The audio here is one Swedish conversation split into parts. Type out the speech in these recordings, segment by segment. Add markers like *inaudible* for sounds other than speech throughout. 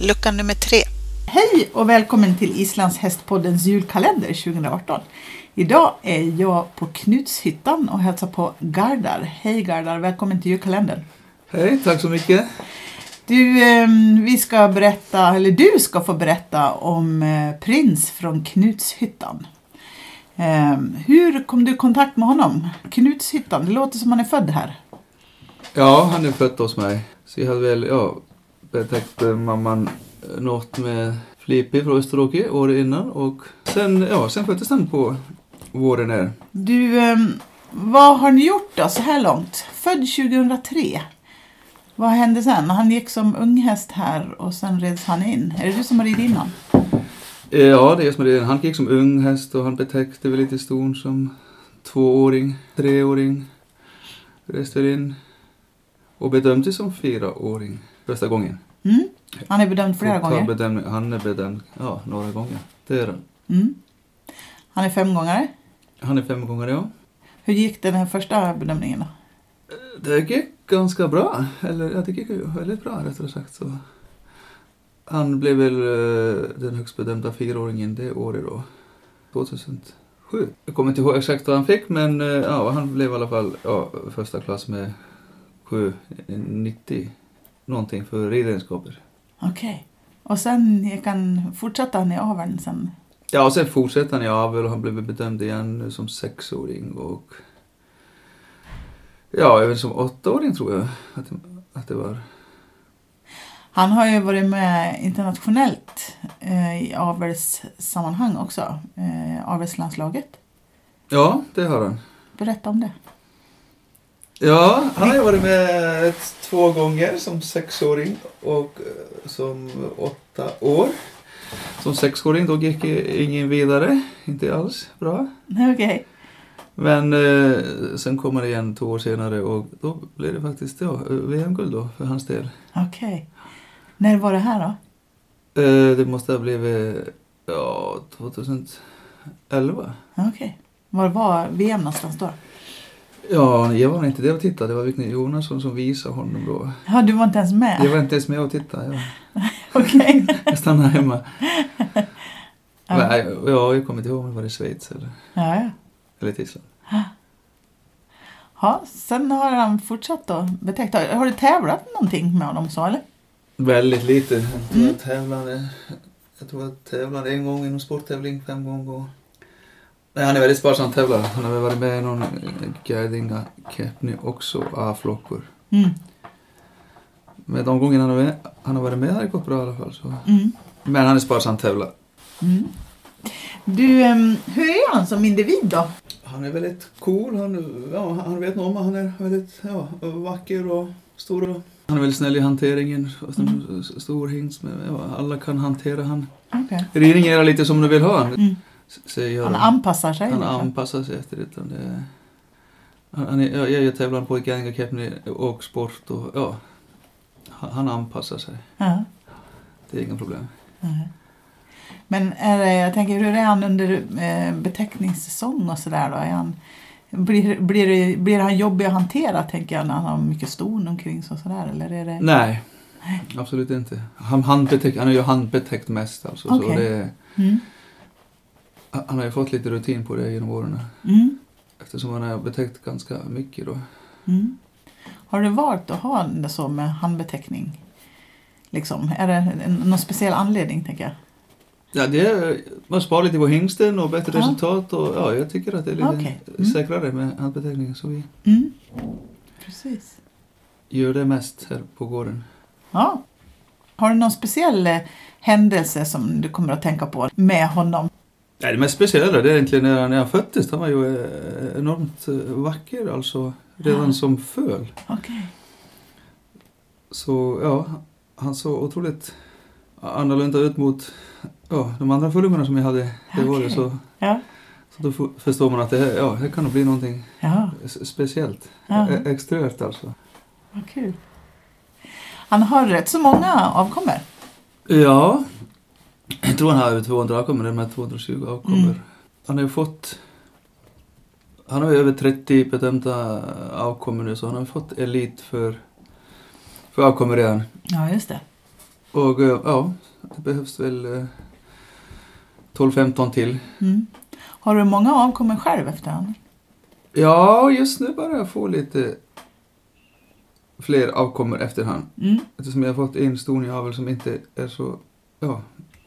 lucka nummer tre. Hej och välkommen till Islands hästpoddens julkalender 2018. Idag är jag på Knutshyttan och hälsar på Gardar. Hej Gardar, välkommen till julkalendern. Hej, tack så mycket. Du, eh, vi ska berätta, eller du ska få berätta om eh, Prins från Knutshyttan. Eh, Hur kom du i kontakt med honom? Knutshyttan, det låter som han är född här. Ja, han är född hos mig. Så jag hade väl, ja, betäckte mamman eh, något med Flipi från Österåker året innan och sen, ja, sen föddes han på våren här. Du, eh, vad har ni gjort då så här långt? Född 2003. Vad hände sen? Han gick som unghäst här och sen reds han in. Är det du som har ridit innan? Eh, Ja, det är som det är. Han gick som ung häst och han betäckte väl lite ston som tvååring, treåring. Reste in och bedömdes som fyraåring första gången. Mm? Han är bedömd flera Total gånger. Bedömning, han är bedömd, ja, några gånger. Det är han. Mm. Han är femgångare. Han är fem gånger, ja. Hur gick den här första bedömningen då? Det gick ganska bra. Eller ja, det gick ju väldigt bra rättare sagt. Så. Han blev väl eh, den högst bedömda fyraåringen det året då. 2007. Jag kommer inte ihåg exakt vad han fick men eh, ja, han blev i alla fall ja, första klass med 790 någonting för ridegenskaper. Okej. Och sen gick han, fortsatte han i aveln sen? Ja, och sen fortsatte han i avel och han blev bedömd igen nu som sexåring och ja, även som åttaåring tror jag att, att det var. Han har ju varit med internationellt eh, i avelssammanhang också. Eh, avelslandslaget. Ja, det har han. Berätta om det. *laughs* Ja, han har ju varit med två gånger som sexåring och eh, som åtta år. Som sexåring då gick ingen vidare, inte alls bra. Okej. Men eh, sen kommer det igen två år senare och då blir det faktiskt ja, VM-guld då för hans del. Okej. När var det här då? Eh, det måste ha blivit ja, 2011. Okej. Var var VM någonstans då? Ja, jag var inte det och tittade. Det var Vignell Jonasson som visade honom då. Ja, du var inte ens med? Jag var inte ens med och tittade. Jag, *laughs* Okej. jag stannade hemma. *laughs* Ja. Nej, ja, jag kommer inte ihåg om det var i Schweiz eller, ja, ja. eller i Island. Ja, sen har han fortsatt då betäckt. Har har du tävlat någonting med honom så eller? Väldigt lite. Jag tror Mm. jag tävlade, jag tror jag tävlade en gång i någon sporttävling, fem gånger. Och... Nej, han är väldigt sparsam tävlare. Han har väl varit med i någon Gerdinga Cup nu också, A-flockor. Mm. Men de gångerna han har, varit med, han har varit med har det gått bra i alla fall. Så. Mm. Men han är sparsam tävlare. Mm. Du, ehm, hur är han som individ då? Han är väldigt cool, han, ja, han vet nog om att han är väldigt ja, vacker och stor. Och... Han är väldigt snäll i hanteringen, fast en Mm. stor hingst. Men, ja, alla kan hantera han. Okay. Ridning är lite som du vill ha han, Mm. s- säger Han han. anpassar sig. Han liksom. anpassar sig efter det. utan det är- han, han är, ja, jag jag tävlar på Ganga Cup nu och sport och ja, han, han anpassar sig. Ja. Det är inga problem. Mhm. Men är det, jag tänker, hur är han under eh, beteckningssäsong och sådär då? Är han, blir, blir, det, blir han jobbig att hantera tänker jag när han har mycket ston omkring sig och sådär? Eller är det... Nej, absolut inte. Han, handbetäckt, han är ju handbetäckt mest alltså. Så Okej. det, Mm. han har ju fått lite rutin på det genom åren. Mm. Eftersom han har betäckt ganska mycket då. Mm. Har du valt att ha det så med handbeteckning? Liksom, är det en- någon speciell anledning tänker jag? Ja, det är, man sparar lite på hingsten och bättre Ja. resultat och ja, jag tycker att det är lite Okej. Mm. säkrare med handbeteckningen så vi Mm. Precis. gör det mest här på gården. Ja. Har du någon speciell eh, händelse som du kommer att tänka på med honom? Nej, det mest speciella det är egentligen när han, när han föddes. Han var ju eh, enormt eh, vacker alltså redan Ja. som föl. Okej. Så ja, han såg otroligt annorlunda ut mot ja, de andra fullungarna som jag hade det Okej. året. Så, Ja. så då f- förstår man att det här, ja, här kan nog bli någonting Ja. s- speciellt. Ja. E- Extrovert alltså. Vad kul. Han har rätt så många avkommor. Ja, jag tror han har över 200 avkommor, de här 220 avkommor. Mm. Han har ju fått, han har ju över 30 bedömda avkommor nu så han har ju fått elit för, för avkommor redan. Ja, just det. Och eh, ja, det behövs väl eh, 12-15 till. Mm. Har du många avkommor själv efter honom? Ja, just nu börjar jag få lite fler avkommor efterhand. Mm. Eftersom jag har fått en stor navel som inte är så ja,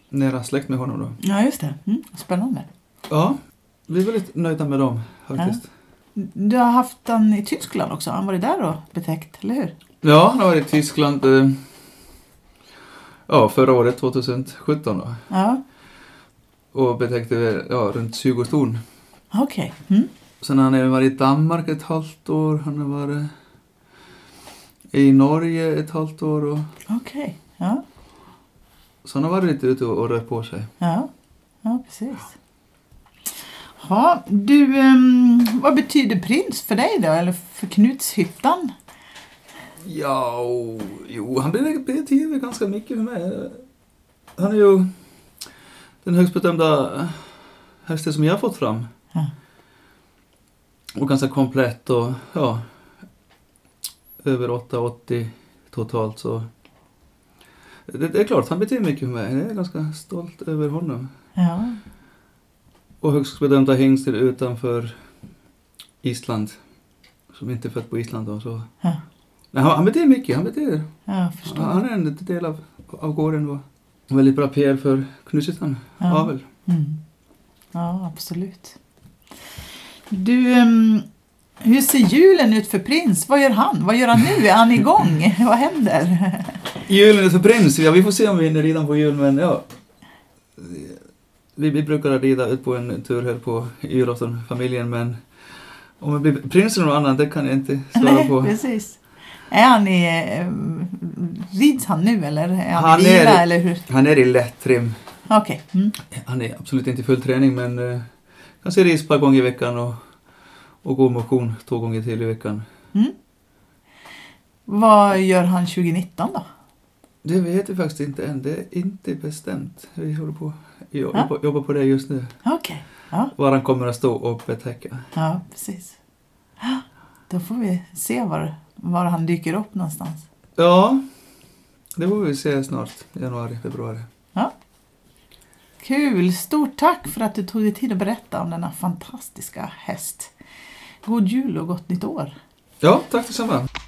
nära släkt med honom då. Ja, just det. Mm. Spännande. Ja, vi var lite nöjda med dem faktiskt. Du har haft den i Tyskland också. Han var det där då betäckt, eller hur? Ja, han har varit i Tyskland eh, ja, förra året, 2017 då. Ja, Och betäckte väl, ja, runt 20 ton. okej. Mm. Sen har han även varit i Danmark ett halvt år. Han har varit i Norge ett halvt år. Och, Okej. Ja. så han har varit lite ute och, och rört på sig. Ja. ja, precis. Ja, du, ehm, vad betyder prins för dig då? Eller för Knutshyttan? Ja, och, jo, han betyder ganska mycket för mig. Han är ju den högst bedömda hästen som jag har fått fram. Ja. Och ganska komplett och ja, över 880 totalt så. Det, det är klart, han betyder mycket för mig. Jag är ganska stolt över honom. Ja, Och högst bedömda hängstar utanför Island. Som inte är född på Island då. Så. Ja. Nej, han, han betyder mycket, han betyder. ja jag förstår. Han är en del av, av gården då. En väldigt bra PR för Knutshyttan, Ja. avel. Mm. Ja, absolut. Du, ehm, hur ser julen ut för prins? Vad gör han? Vad gör han nu? Är han *laughs* igång? Vad händer? Julen är för prins, ja vi får se om vi hinner rida på jul men ja. Vi, vi brukar rida ut på en tur här på julafton, familjen men om det blir prins eller någon annan, det kan jag inte svara Nej, på. precis. Är han i... eh, Rids han nu eller? Är han, Han i är- vila eller hur? Han är i lätt trim. Okej. Mm. Han är absolut inte i full träning men eh, kanske ris ett par gånger i veckan och, och gå motion två gånger till i veckan. Mm. Vad gör han 2019 då? Det vet vi faktiskt inte än, det är inte bestämt. Vi håller på jo, Ja. jobbar, jobbar på det just nu. Okej. Var han kommer att stå och betäcka. Ja, precis. Ah, Då får vi se var, var han dyker upp någonstans. Ja, det får vi se snart. Januari, februari. Kul! Stort tack för att du tog dig tid att berätta om denna fantastiska häst. God jul och gott nytt år! Ja, tack detsamma.